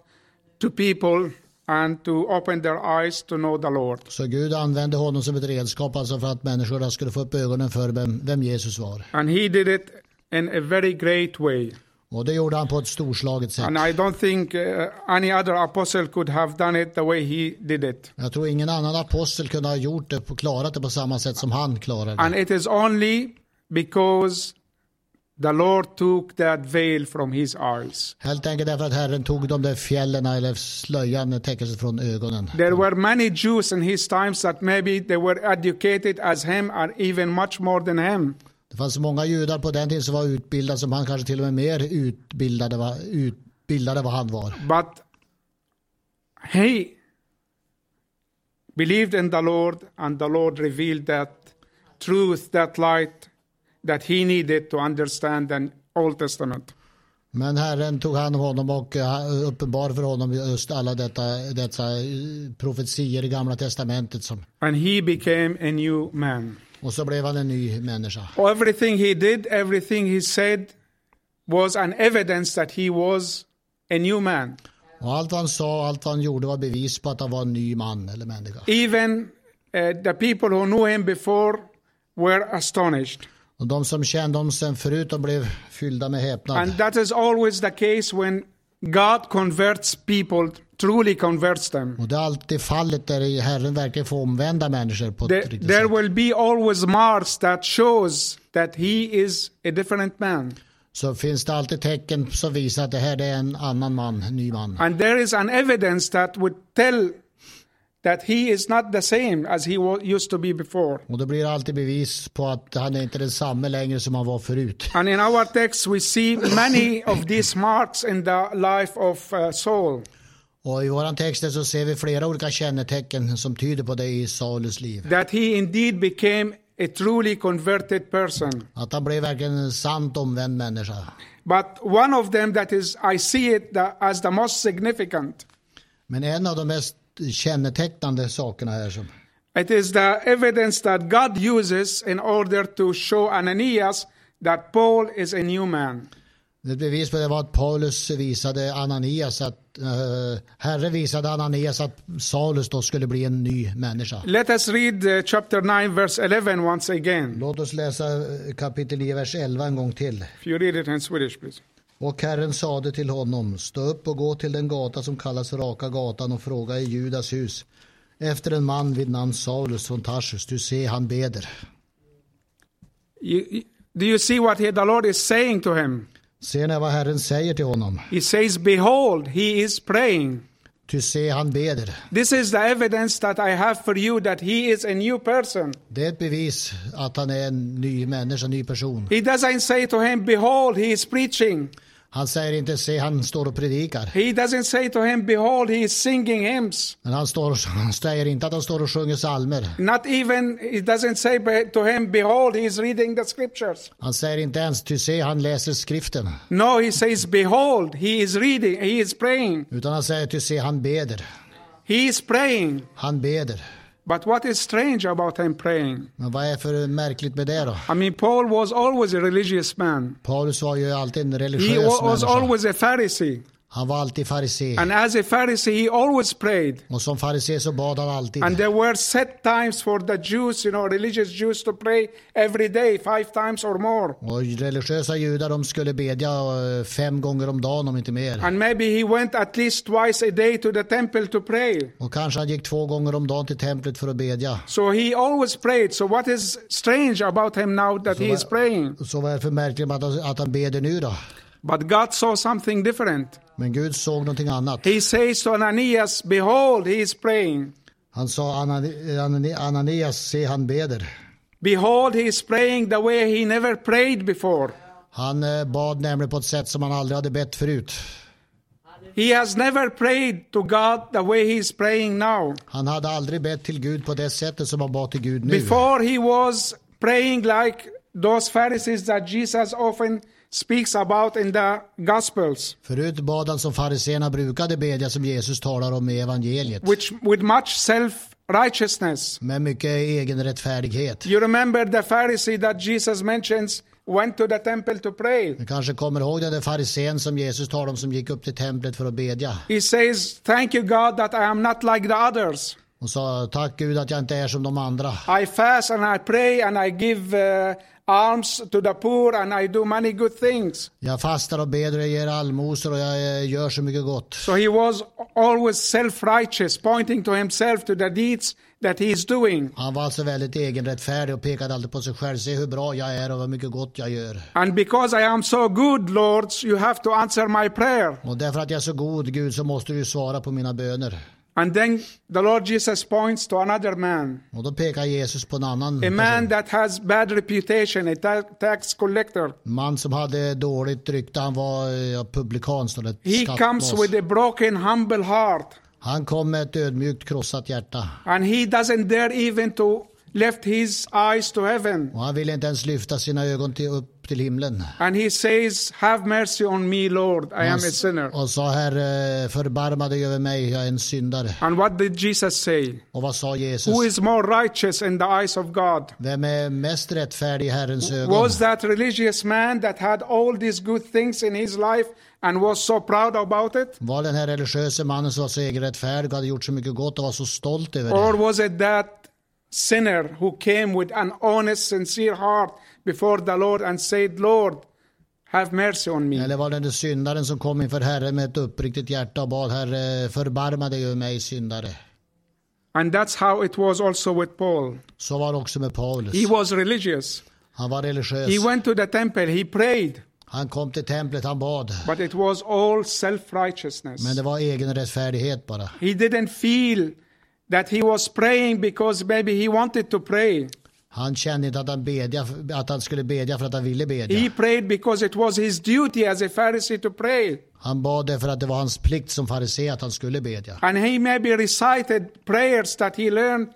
Speaker 1: to people and to open their eyes to know the Lord.
Speaker 2: Så Gud använde honom som ett redskap, alltså för att människorna skulle få upp ögonen för vem, vem Jesus var.
Speaker 1: And he did it in a very great way.
Speaker 2: Och det gjorde han på ett storslaget sätt.
Speaker 1: And I don't think uh, any other apostle could have done it the way he did it.
Speaker 2: Jag tror ingen annan apostel kunde ha gjort det och klarat det på samma sätt som han klarade det.
Speaker 1: And it is only because the Lord took that veil from his eyes.
Speaker 2: Helt enkelt därför att Herren tog de där fjällen eller slöjan, täckelsen från ögonen.
Speaker 1: There were many Jews in his times that maybe they were educated as him or even much more than him.
Speaker 2: Det fanns många judar på den tiden som var utbildade, som han kanske till och med mer utbildade, va- utbildade vad han var.
Speaker 1: But he believed in the Lord, and the Lord revealed that truth, that light that he needed to understand the Old Testament.
Speaker 2: Men Herren tog hand om honom och eh, uppenbar för honom just alla detta, dessa eh, profetier i Gamla Testamentet. Som,
Speaker 1: And he became a new man.
Speaker 2: och så blev han en ny människa.
Speaker 1: Everything he did, everything he said was an evidence that he was a new man.
Speaker 2: Och allt han sa, allt han gjorde var bevis på att han var en ny man eller människa.
Speaker 1: Even uh, the people who knew him before were astonished.
Speaker 2: Och de som kände honom sen förut, de blev fyllda med häpnad.
Speaker 1: And that is always the case when God converts people, truly converts them.
Speaker 2: Och det är alltid fallet där Herren verkligen får omvända människor på
Speaker 1: There,
Speaker 2: ett riktigt
Speaker 1: there
Speaker 2: sätt.
Speaker 1: will be always marks that shows that he is a different man.
Speaker 2: Så finns det alltid tecken som visar att det här är en annan man, en ny man.
Speaker 1: And there is an evidence that would tell that he is not the same as he wa- used to be before.
Speaker 2: Och då blir det alltid bevis på att han är inte densamme längre som han var förut.
Speaker 1: And in our text, we see many of these marks in the life of uh, Saul.
Speaker 2: Och i våran text så ser vi flera olika kännetecken som tyder på det i Saulus liv.
Speaker 1: That he indeed became a truly converted person.
Speaker 2: Att han blev verkligen en sant omvänd människa.
Speaker 1: But one of them that is, I see it the, as the most significant.
Speaker 2: Men en av de mest kännetecknande sakerna här som
Speaker 1: It is the evidence that God uses in order to show Ananias that Paul is a new man.
Speaker 2: Ett bevis på det var att Paulus visade Ananias att eh, Herre visade Ananias att Saulus då skulle bli en ny människa.
Speaker 1: Let us read uh, chapter 9, verse 11 once again.
Speaker 2: Låt oss läsa eh, kapitel 9, vers 11 en gång till.
Speaker 1: If you read it in Swedish, please.
Speaker 2: Och Herren sade till honom, stå upp och gå till den gata som kallas Raka gatan och fråga i Judas hus efter en man vid namn Saulus från Tarsus. Du ser, han beder.
Speaker 1: You, you- do you see what he, the Lord is saying to him?
Speaker 2: Ser ni vad Herren säger till honom?
Speaker 1: He says, Behold, he is praying.
Speaker 2: Du ser, han beder.
Speaker 1: This is the evidence that I have for you that he is a new person.
Speaker 2: Det är ett bevis att han är en ny människa, en ny person.
Speaker 1: He doesn't say to him, Behold, he is preaching.
Speaker 2: Han säger inte, se, han står och predikar.
Speaker 1: He doesn't say to him, Behold, he is singing hymns.
Speaker 2: Men han, står, han säger inte att han står och sjunger psalmer.
Speaker 1: Not even, he doesn't say be- to him, Behold, he is reading the scriptures.
Speaker 2: Han säger inte ens, ty se han läser skriften.
Speaker 1: No, he says, Behold, he is reading, he is praying.
Speaker 2: Utan han säger, ty se han beder.
Speaker 1: He is praying.
Speaker 2: Han beder.
Speaker 1: But what is strange about him praying?
Speaker 2: Men vad är för märkligt med det då?
Speaker 1: I mean, Paul was always a religious man,
Speaker 2: Paulus var ju alltid en
Speaker 1: he
Speaker 2: religiös
Speaker 1: wa- was
Speaker 2: människa.
Speaker 1: always a Pharisee.
Speaker 2: Han var alltid farisé.
Speaker 1: And as a Pharisee, he always prayed.
Speaker 2: Och som farisé så bad han alltid.
Speaker 1: And there were set times for the Jews, you know, religious Jews to pray every day, five times or more.
Speaker 2: Och religiösa judar de skulle bedja eh, fem gånger om dagen om inte mer.
Speaker 1: And maybe he went at least twice a day to the temple to pray.
Speaker 2: Och kanske han gick två gånger om dagen till templet för att bedja.
Speaker 1: So he always prayed. So what is strange about him now that he is praying?
Speaker 2: Så vad är det för märkligt med att han, att han beder nu då?
Speaker 1: But God saw something different.
Speaker 2: Men Gud såg någonting annat.
Speaker 1: He says to Ananias, Behold, he is praying.
Speaker 2: Han sa Anani- Anani- Ananias, se han beder.
Speaker 1: Behold, he is praying the way he never prayed before.
Speaker 2: Han eh, bad nämligen på ett sätt som han aldrig hade bett förut.
Speaker 1: He has never prayed to God the way he is praying now.
Speaker 2: Han hade aldrig bett till Gud på det sättet som han bad till Gud nu.
Speaker 1: Before he was praying like those Pharisees that Jesus often speaks about in the Gospels,
Speaker 2: Förut bad han som fariséerna brukade bedja som Jesus talar om i evangeliet.
Speaker 1: which with much self righteousness.
Speaker 2: Med mycket egen rättfärdighet.
Speaker 1: You remember the Pharisee that Jesus mentions went to the temple to pray.
Speaker 2: Du kanske kommer ihåg den där farisén som Jesus talade om som gick upp till templet för att bedja.
Speaker 1: He says, Thank you, God, that I am not like the others.
Speaker 2: Och sa tack Gud att jag inte är som de andra.
Speaker 1: I fast and I pray and I give uh, alms to the poor and I do many good things.
Speaker 2: Jag fastar och ber och jag ger allmosor och jag eh, gör så mycket gott.
Speaker 1: So he was always self righteous, pointing to himself, to the deeds that he is doing.
Speaker 2: Han var alltså väldigt egenrättfärdig och pekade alltid på sig själv. Se hur bra jag är och vad mycket gott jag gör.
Speaker 1: And because I am so good, Lord, you have to answer my prayer.
Speaker 2: Och därför att jag är så god Gud så måste du ju svara på mina böner.
Speaker 1: And then the Lord Jesus points to another man,
Speaker 2: Och då pekar Jesus på en annan
Speaker 1: a man
Speaker 2: person.
Speaker 1: that has bad reputation, a ta- tax collector.
Speaker 2: En man som hade dåligt rykte. Han var eh, ja, publikan, står det.
Speaker 1: He
Speaker 2: Skattmas.
Speaker 1: comes with a broken, humble heart,
Speaker 2: Han kom med ett ödmjukt krossat hjärta.
Speaker 1: and he doesn't dare even to lift his eyes to heaven.
Speaker 2: Och han ville inte ens lyfta sina ögon till, upp till himlen.
Speaker 1: And he says, "Have mercy on me, Lord. I am
Speaker 2: Han
Speaker 1: a
Speaker 2: s-
Speaker 1: sinner."
Speaker 2: Och sa Herre, förbarma dig över mig, jag är en syndare.
Speaker 1: And what did Jesus say?
Speaker 2: Och vad sa Jesus?
Speaker 1: Who is more righteous in the eyes of God?
Speaker 2: Vem är mest rättfärdig i Herrens ögon?
Speaker 1: Was that religious man that had all these good things in his life and was so proud about it?
Speaker 2: Var den här religiöse mannen som var så egenrättfärdig och hade gjort så mycket gott och var så stolt över det?
Speaker 1: Or was it that sinner who came with an honest, sincere heart before the Lord and said, Lord, have mercy on me?
Speaker 2: Eller var det den syndaren som kom inför Herren med ett uppriktigt hjärta och bad Herre, förbarma dig över mig syndare?
Speaker 1: And that's how it was also with Paul.
Speaker 2: Så var det också med Paulus.
Speaker 1: He was religious.
Speaker 2: Han var
Speaker 1: He
Speaker 2: religiös.
Speaker 1: went to the temple, he prayed,
Speaker 2: Han kom till templet, han bad.
Speaker 1: but it was all self
Speaker 2: Men
Speaker 1: righteousness.
Speaker 2: det var egen rättfärdighet bara.
Speaker 1: He didn't feel that he was praying because maybe he wanted to pray.
Speaker 2: Han kände inte att han, bedja, att han skulle bedja för att han ville bedja.
Speaker 1: He prayed because it was his duty as a Pharisee to pray.
Speaker 2: Han bad därför att det var hans plikt som farisé att han skulle bedja.
Speaker 1: And he maybe recited prayers that he learned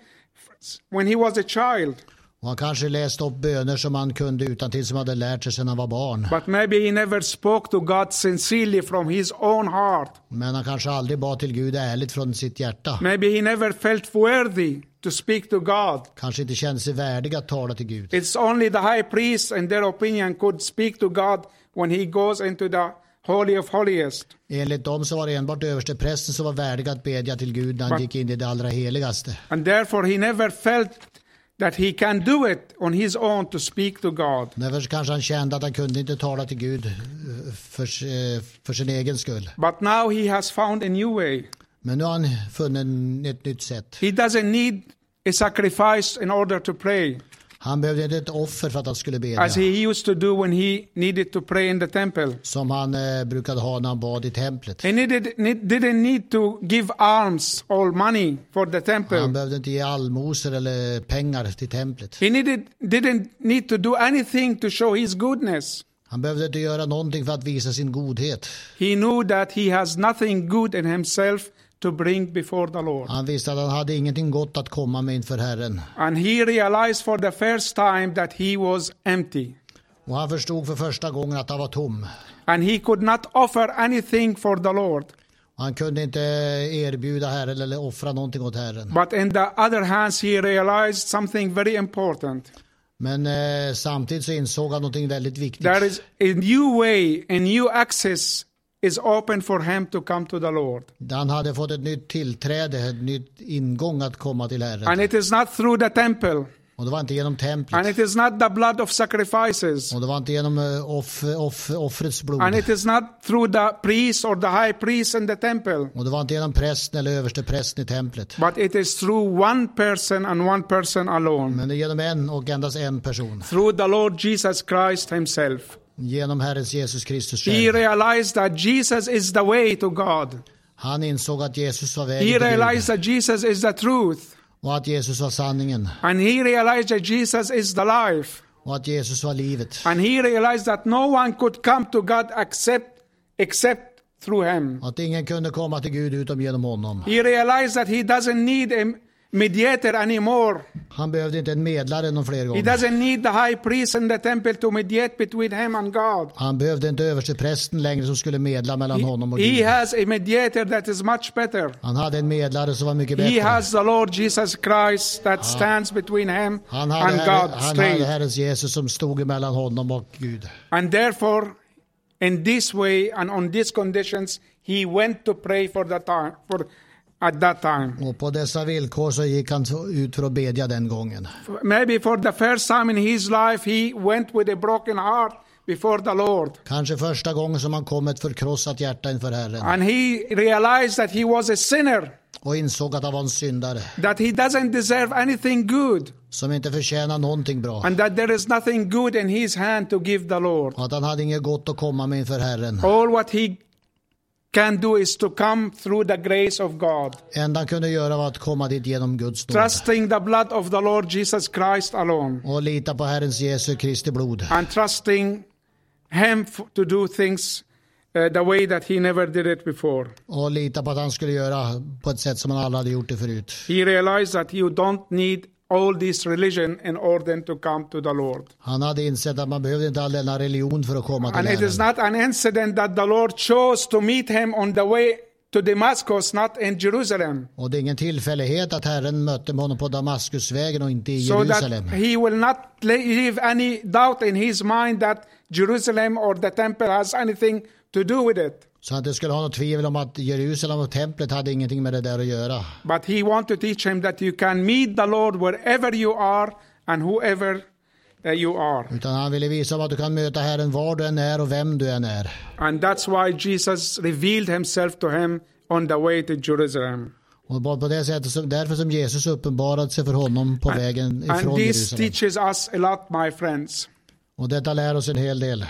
Speaker 1: when he was a child,
Speaker 2: Och han kanske läste upp böner som han kunde utan till som han hade lärt sig sedan han var barn.
Speaker 1: but maybe he never spoke to God sincerely from his own heart.
Speaker 2: Men han kanske aldrig bad till Gud ärligt från sitt hjärta.
Speaker 1: Maybe he never felt worthy to speak to God.
Speaker 2: Kanske inte kände sig värdig att tala till Gud.
Speaker 1: It's only the high priest, in their opinion, could speak to God when he goes into the Holy of Holiest.
Speaker 2: Enligt dem så var det enbart översteprästen som var värdig att bedja till Gud när han
Speaker 1: Men-
Speaker 2: gick in i det allra heligaste.
Speaker 1: And therefore, he never felt that he can do it on his own to speak to God.
Speaker 2: Därför så kanske han kände att han kunde inte tala till Gud eh, för, eh, för sin egen skull.
Speaker 1: But now he has found a new way.
Speaker 2: Men nu har han funnit en- ett nytt sätt.
Speaker 1: He doesn't need a sacrifice in order to pray,
Speaker 2: Han behövde inte ett offer för att han skulle bedja.
Speaker 1: as he used to do when he needed to pray in the temple.
Speaker 2: Som han eh, brukade ha när han bad i templet.
Speaker 1: He needed, ne- didn't need to give alms or money for the
Speaker 2: Han
Speaker 1: temple.
Speaker 2: behövde inte ge allmosor eller pengar till templet.
Speaker 1: He needed, didn't need to do anything to show his goodness.
Speaker 2: Han behövde inte göra någonting för att visa sin godhet.
Speaker 1: He knew that he has nothing good in himself to bring before the Lord.
Speaker 2: Han visste att han hade ingenting gott att komma med inför Herren.
Speaker 1: And he realized for the first time that he was empty.
Speaker 2: Och han förstod för första gången att han var tom.
Speaker 1: And he could not offer anything for the Lord.
Speaker 2: Han kunde inte erbjuda Herren eller offra någonting åt Herren.
Speaker 1: But in the other hands, he realized something very important.
Speaker 2: Men eh, samtidigt så insåg han någonting väldigt viktigt.
Speaker 1: There is a new way, a new access is open for him to come to the Lord.
Speaker 2: Han hade fått ett nytt tillträde, ett nytt ingång att komma till
Speaker 1: And
Speaker 2: Herren.
Speaker 1: it is not through the temple,
Speaker 2: Och det var inte genom templet.
Speaker 1: and it is not the blood of sacrifices,
Speaker 2: Och det var inte genom eh, off, off, offrets blod.
Speaker 1: and it is not through the priest or the high priest in the temple,
Speaker 2: Och det var inte genom prästen eller översteprästen i templet.
Speaker 1: but it is through one person and one person alone,
Speaker 2: Men det är genom en och endast en person.
Speaker 1: through the Lord Jesus Christ himself.
Speaker 2: Genom Herrens Jesus Kristus
Speaker 1: He
Speaker 2: själv.
Speaker 1: realized that Jesus is the way to God.
Speaker 2: Han insåg att Jesus var
Speaker 1: He
Speaker 2: vägen till Gud
Speaker 1: realized that Jesus is the truth.
Speaker 2: och att Jesus var sanningen
Speaker 1: And he realized that Jesus is the life.
Speaker 2: och att Jesus var livet.
Speaker 1: And he realized that no one could come to God except, except through him.
Speaker 2: Att ingen kunde komma till Gud utom genom honom.
Speaker 1: He realized that he doesn't need a, mediator anymore.
Speaker 2: Han behövde inte en medlare någon fler
Speaker 1: He
Speaker 2: gånger.
Speaker 1: doesn't need the high priest in the temple to mediate between him and God.
Speaker 2: Han behövde inte översteprästen längre som skulle medla mellan honom och
Speaker 1: He
Speaker 2: Gud.
Speaker 1: has a mediator that is much better.
Speaker 2: Han hade en medlare som var mycket
Speaker 1: He
Speaker 2: bättre.
Speaker 1: has the Lord Jesus Christ that stands between him
Speaker 2: Ah. Han hade,
Speaker 1: and
Speaker 2: herre,
Speaker 1: God
Speaker 2: han hade
Speaker 1: straight.
Speaker 2: Herrens Jesus som stod emellan honom och Gud.
Speaker 1: And therefore, in this way and on these conditions, he went to pray for the time for at that time.
Speaker 2: Och på dessa villkor så gick han ut för att bedja den gången.
Speaker 1: Maybe for the first time in his life, he went with a broken heart before the Lord.
Speaker 2: Kanske första gången som han kom med ett förkrossat hjärta inför Herren
Speaker 1: And he realized that he was a sinner,
Speaker 2: och insåg att han var en syndare
Speaker 1: that he doesn't deserve anything good,
Speaker 2: som inte förtjänar någonting bra.
Speaker 1: and that there is nothing good in his hand to give the Lord.
Speaker 2: Och att han hade inget gott att komma med inför Herren.
Speaker 1: All what he can do is to come through the grace of God,
Speaker 2: Enda han kunde göra var att komma dit genom Guds nåd
Speaker 1: trusting the blood of the Lord Jesus Christ alone,
Speaker 2: och lita på Herrens Jesu Kristi blod
Speaker 1: and trusting Him f- to do things uh, the way that He never did it before.
Speaker 2: och lita på att han skulle göra på ett sätt som han aldrig hade gjort det förut.
Speaker 1: He realized that you don't need all this religion in order to come to the Lord.
Speaker 2: Han hade insett att man behövde inte all denna religion för att komma till
Speaker 1: And it is
Speaker 2: Herren.
Speaker 1: not an incident that the Lord chose to meet him on the way to Damascus, not in Jerusalem,
Speaker 2: Och det är ingen tillfällighet att Herren mötte honom på Damaskusvägen och inte i
Speaker 1: so that
Speaker 2: Jerusalem.
Speaker 1: he will not le- leave any doubt in his mind that Jerusalem or the temple has anything to do with it.
Speaker 2: Så att det skulle ha något tvivel om att Jerusalem och templet hade ingenting med det där att göra.
Speaker 1: But he wants to teach him that you can meet the Lord wherever you are and whoever uh, you are.
Speaker 2: Utan han ville visa vad du kan möta Herren var du än är och vem du än är.
Speaker 1: And that's why Jesus revealed himself to him on the way to Jerusalem.
Speaker 2: Och bara på det sättet, som, därför som Jesus uppenbarade sig för honom på vägen
Speaker 1: And
Speaker 2: ifrån
Speaker 1: this
Speaker 2: Jerusalem.
Speaker 1: teaches us a lot, my friends.
Speaker 2: Och detta lär oss en hel del.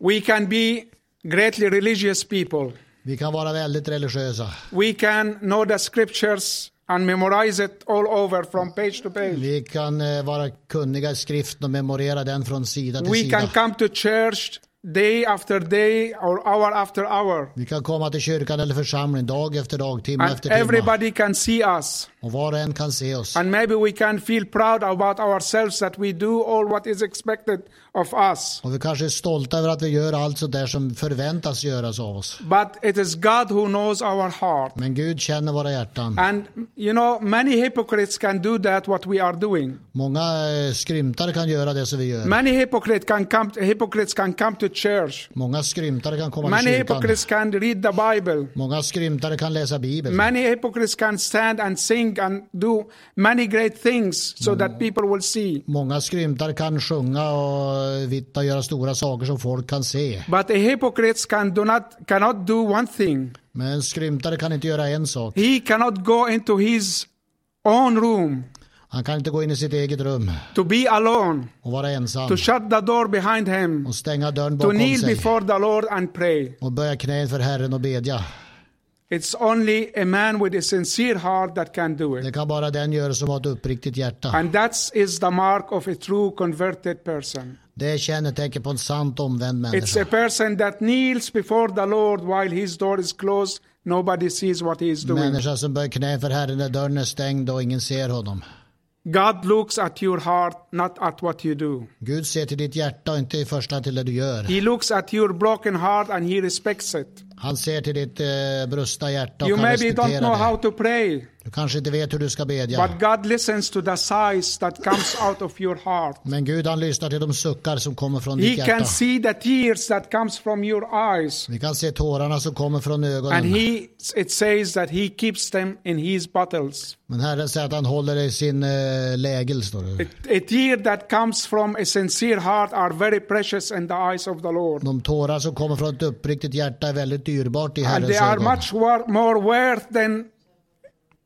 Speaker 1: We can be greatly religious people.
Speaker 2: Vi kan vara väldigt religiösa.
Speaker 1: We can know the scriptures and memorize it all over from page to page.
Speaker 2: Vi kan eh, vara kunniga i skriften och memorera den från sida till
Speaker 1: We can
Speaker 2: sida.
Speaker 1: come to church day after day or hour after hour.
Speaker 2: Vi kan komma till kyrkan eller församlingen dag efter dag, timme
Speaker 1: And
Speaker 2: efter timme.
Speaker 1: everybody can see us.
Speaker 2: Och var och en kan se oss.
Speaker 1: And maybe we can feel proud about ourselves that we do all what is expected of us.
Speaker 2: Och vi kanske är stolta över att vi gör allt sånt där som förväntas göras av oss.
Speaker 1: But it is God who knows our heart.
Speaker 2: Men Gud känner våra hjärtan.
Speaker 1: And you know, many hypocrites can do that, what we are doing.
Speaker 2: Många eh, skrymtare kan göra det som vi gör.
Speaker 1: Many hypocrite can come, hypocrites can come to church.
Speaker 2: Många skrymtare kan komma till
Speaker 1: Many
Speaker 2: kyrkan.
Speaker 1: hypocrites can read the Bible.
Speaker 2: Många skrymtare kan läsa Bibeln.
Speaker 1: Many hypocrites can stand and sing and do many great things so that people will see.
Speaker 2: Många skrymtare kan sjunga och vittna och göra stora saker som folk kan se.
Speaker 1: But a hypocrite can do not, cannot do one thing.
Speaker 2: Men en skrymtare kan inte göra en sak.
Speaker 1: He cannot go into his own room
Speaker 2: Han kan inte gå in i sitt eget rum
Speaker 1: to be alone,
Speaker 2: och vara ensam.
Speaker 1: to shut the door behind him,
Speaker 2: Och stänga dörren
Speaker 1: to
Speaker 2: bakom
Speaker 1: kneel
Speaker 2: sig.
Speaker 1: before the Lord and pray.
Speaker 2: Och böja knä inför Herren och bedja.
Speaker 1: It's only a man with a sincere heart that can do
Speaker 2: Det
Speaker 1: it.
Speaker 2: kan bara den göra som har ett uppriktigt hjärta.
Speaker 1: And that is the mark of a true converted person.
Speaker 2: Det är kännetecken på en sant omvänd
Speaker 1: It's
Speaker 2: människa.
Speaker 1: a person that kneels before the Lord while his door is closed. Nobody sees what he is doing.
Speaker 2: Människa som böjer knä inför Herren när dörren är stängd och ingen ser honom.
Speaker 1: God looks at your heart, not at what you do.
Speaker 2: Gud ser till ditt hjärta och inte i första hand till det du gör.
Speaker 1: He looks at your broken heart and he respects it.
Speaker 2: Han ser till ditt eh, brustna hjärta och
Speaker 1: You
Speaker 2: kan
Speaker 1: maybe don't know
Speaker 2: respektera
Speaker 1: how
Speaker 2: det.
Speaker 1: to pray,
Speaker 2: Du kanske inte vet hur du ska bedja.
Speaker 1: but God listens to the sighs that comes out of your heart.
Speaker 2: Men Gud han lyssnar till de suckar som kommer från
Speaker 1: He
Speaker 2: ditt
Speaker 1: can
Speaker 2: hjärta.
Speaker 1: see the tears that comes from your eyes.
Speaker 2: Vi kan se tårarna som kommer från
Speaker 1: And
Speaker 2: ögonen.
Speaker 1: he, it says that he keeps them in his bottles.
Speaker 2: Men Herren säger att han håller i sin eh, lägel. Står det.
Speaker 1: A tear that comes from a sincere heart are very precious in the eyes of the Lord.
Speaker 2: De tårar som kommer från ett uppriktigt hjärta är väldigt dyrbart i
Speaker 1: And
Speaker 2: Herrens
Speaker 1: they are
Speaker 2: ögon.
Speaker 1: much wor- more worth than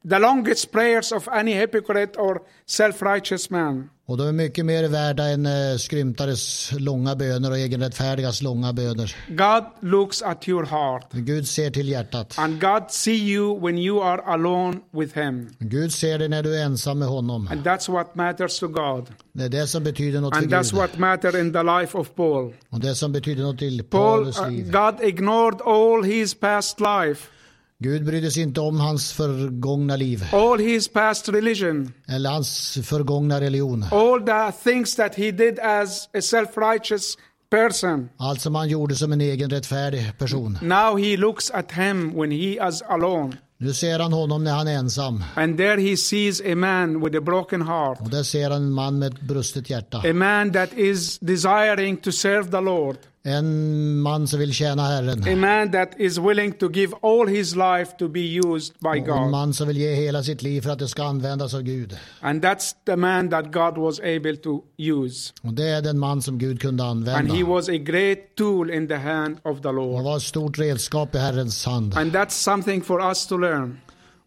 Speaker 1: the longest prayers of any hypocrite or self righteous man.
Speaker 2: Och de är mycket mer värda än eh, skrymtares långa böner och egenrättfärdigas långa böner.
Speaker 1: God looks at your heart,
Speaker 2: Men Gud ser till hjärtat.
Speaker 1: and God see you when you are alone with Him.
Speaker 2: Gud ser dig när du är ensam med honom.
Speaker 1: And that's what matters to God.
Speaker 2: Det är det som betyder något för
Speaker 1: And that's
Speaker 2: Gud.
Speaker 1: what mattered in the life of Paul.
Speaker 2: Och det som betyder något till
Speaker 1: Paul,
Speaker 2: Paulus
Speaker 1: uh,
Speaker 2: liv.
Speaker 1: God ignored all his past life.
Speaker 2: Gud brydde sig inte om hans förgångna liv
Speaker 1: all his past religion,
Speaker 2: eller hans förgångna religion.
Speaker 1: all the things that he did as a self righteous person.
Speaker 2: Allt som han gjorde som en egen rättfärdig person.
Speaker 1: Now he looks at him when he is alone,
Speaker 2: Nu ser han honom när han är ensam.
Speaker 1: and there he sees a man with a broken heart,
Speaker 2: Och där ser han en man med ett brustet hjärta.
Speaker 1: a man that is desiring to serve the Lord,
Speaker 2: En man som vill tjäna Herren.
Speaker 1: a man that is willing to give all his life to be used by
Speaker 2: Och en
Speaker 1: God.
Speaker 2: man som vill ge hela sitt liv för att det ska användas av Gud.
Speaker 1: And that's the man that God was able to use.
Speaker 2: Och det är den man som Gud kunde
Speaker 1: And
Speaker 2: använda.
Speaker 1: he was a great tool in the hand of the
Speaker 2: Han
Speaker 1: Lord.
Speaker 2: var ett stort redskap i Herrens hand.
Speaker 1: And that's something for us to learn.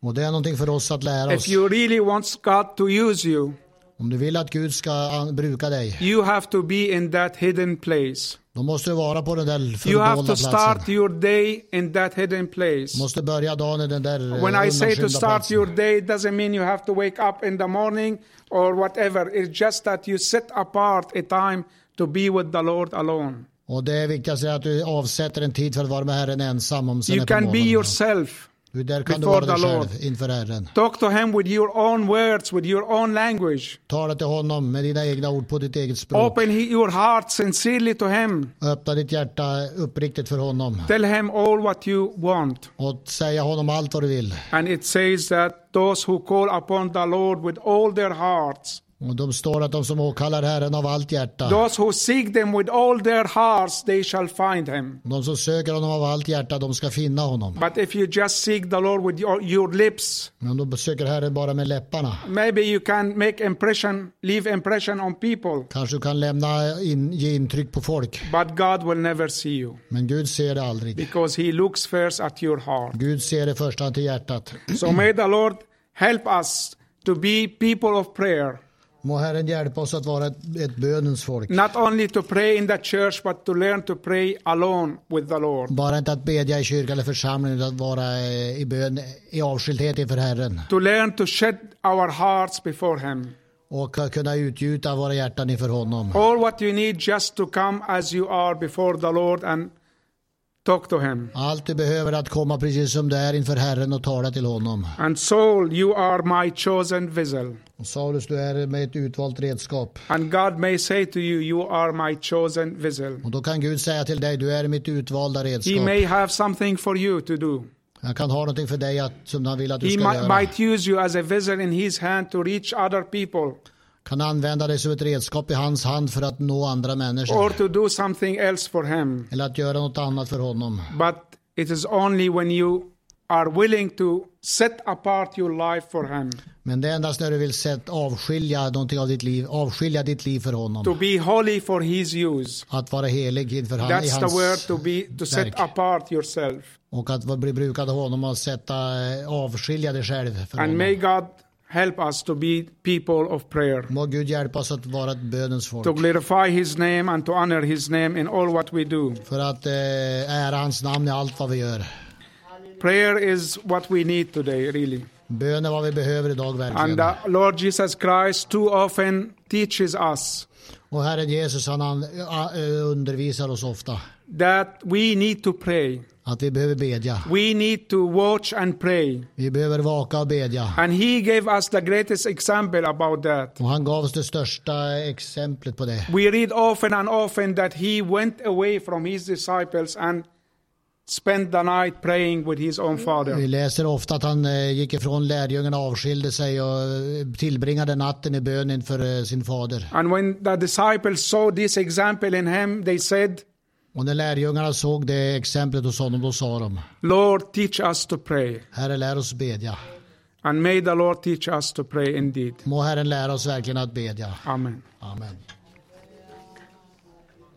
Speaker 2: Och det är någonting för oss att lära oss.
Speaker 1: If you really want God to use you,
Speaker 2: Om du vill att Gud ska an- bruka dig,
Speaker 1: you have to be in that hidden place.
Speaker 2: då måste du vara på den där
Speaker 1: You have
Speaker 2: fördolda
Speaker 1: to start
Speaker 2: platsen.
Speaker 1: your day in that hidden
Speaker 2: Du
Speaker 1: place.
Speaker 2: måste börja dagen i den där eh,
Speaker 1: When I say to
Speaker 2: undanskymda
Speaker 1: start your
Speaker 2: platsen.
Speaker 1: day, it doesn't mean you have to wake up in the morning or whatever. It's just that you set apart a time to be with the Lord alone.
Speaker 2: Och det viktigaste är att du avsätter en tid för att vara med Herren ensam om sen
Speaker 1: You
Speaker 2: är på
Speaker 1: can be
Speaker 2: morgonen.
Speaker 1: yourself.
Speaker 2: Du- Där kan du
Speaker 1: before
Speaker 2: vara dig
Speaker 1: the Lord.
Speaker 2: själv inför Herren.
Speaker 1: Talk to Him with your own words, with your own language.
Speaker 2: Tala till honom med dina egna ord på ditt eget språk.
Speaker 1: Open he- your heart sincerely to Him.
Speaker 2: Öppna ditt hjärta uppriktigt för honom
Speaker 1: Tell Him all what you want.
Speaker 2: och säga honom allt vad du vill.
Speaker 1: And it says that those who call upon the Lord with all their hearts,
Speaker 2: Och de står att de som åkallar Herren av allt hjärta,
Speaker 1: those who seek them with all their hearts, they shall find Him.
Speaker 2: de som söker honom av allt hjärta, de ska finna honom.
Speaker 1: But if you just seek the Lord with your, your lips,
Speaker 2: Men de söker Herren bara med läpparna.
Speaker 1: maybe you can make impression, leave impression on people,
Speaker 2: Kanske du kan lämna in, ge intryck på folk,
Speaker 1: but God will never see you
Speaker 2: men Gud ser det aldrig.
Speaker 1: because He looks first at your heart.
Speaker 2: Gud ser i första hand till hjärtat.
Speaker 1: So may the Lord help us to be people of prayer,
Speaker 2: Må Herren hjälpa oss att vara ett, ett bönens folk.
Speaker 1: not only to pray in the church, but to learn to pray alone with the Lord.
Speaker 2: Bara inte att bedja i kyrkan eller församlingen utan att vara eh, i bön i avskildhet inför Herren.
Speaker 1: to learn to shed our hearts before Him.
Speaker 2: Och att kunna utgjuta våra hjärtan inför honom.
Speaker 1: All what you need just to come as you are before the Lord and talk to Him.
Speaker 2: Allt du behöver är att komma precis som du är inför Herren och tala till honom.
Speaker 1: And Saul, you are my chosen vessel.
Speaker 2: Och Saulus, du är med ett utvalt redskap.
Speaker 1: And God may say to you, You are my chosen vessel.
Speaker 2: Och då kan Gud säga till dig, du är mitt utvalda
Speaker 1: He
Speaker 2: redskap.
Speaker 1: may have something for you to do.
Speaker 2: Han kan ha någonting för dig att, som han vill att du
Speaker 1: He
Speaker 2: ska
Speaker 1: might,
Speaker 2: göra.
Speaker 1: might use you as a vessel in His hand to reach other people
Speaker 2: Kan använda dig som ett redskap i hans hand för att nå andra människor.
Speaker 1: or to do something else for Him.
Speaker 2: Eller att göra något annat för honom.
Speaker 1: But it is only when you are willing to set apart your life for Him.
Speaker 2: Men det är endast när du vill sett avskilja någonting av ditt liv, avskilja ditt liv för
Speaker 1: to
Speaker 2: honom.
Speaker 1: be holy for his use.
Speaker 2: Att vara helig inför han, i
Speaker 1: That's the word
Speaker 2: hans
Speaker 1: to be to set
Speaker 2: verk.
Speaker 1: apart yourself.
Speaker 2: och att vara- bli brukad av honom och sätta, eh, avskilja dig själv för
Speaker 1: And may
Speaker 2: honom.
Speaker 1: God help us to be people of prayer,
Speaker 2: Må Gud hjälpa oss att vara ett bönens folk.
Speaker 1: to glorify his name and to honor his name in all what we do.
Speaker 2: För att eh, ära hans namn i allt vad vi gör.
Speaker 1: Prayer is what we need today, really.
Speaker 2: Bön är vad vi behöver idag
Speaker 1: And uh,
Speaker 2: verkligen.
Speaker 1: the Lord Jesus Christ too often teaches us
Speaker 2: Och Herren Jesus han, han eh, eh, undervisar oss ofta.
Speaker 1: that we need to pray.
Speaker 2: Att vi behöver bedja.
Speaker 1: We need to watch and pray.
Speaker 2: Vi behöver vaka och bedja.
Speaker 1: And he gave us the greatest example about that.
Speaker 2: Och han gav oss det största exemplet på det.
Speaker 1: We read often and often that he went away from his disciples and spent the night praying with his own
Speaker 2: Vi
Speaker 1: father.
Speaker 2: läser ofta att han eh, gick ifrån lärjungarna, avskilde sig och eh, tillbringade natten i bön inför eh, sin fader.
Speaker 1: And when the disciples saw this example in him, they said,
Speaker 2: Och när lärjungarna såg det exemplet hos honom, då sa de,
Speaker 1: Lord, teach us to pray.
Speaker 2: Herre lär oss bedja.
Speaker 1: And may the Lord teach us to pray indeed.
Speaker 2: Må Herren lära oss verkligen att bedja.
Speaker 1: Amen.
Speaker 2: Amen.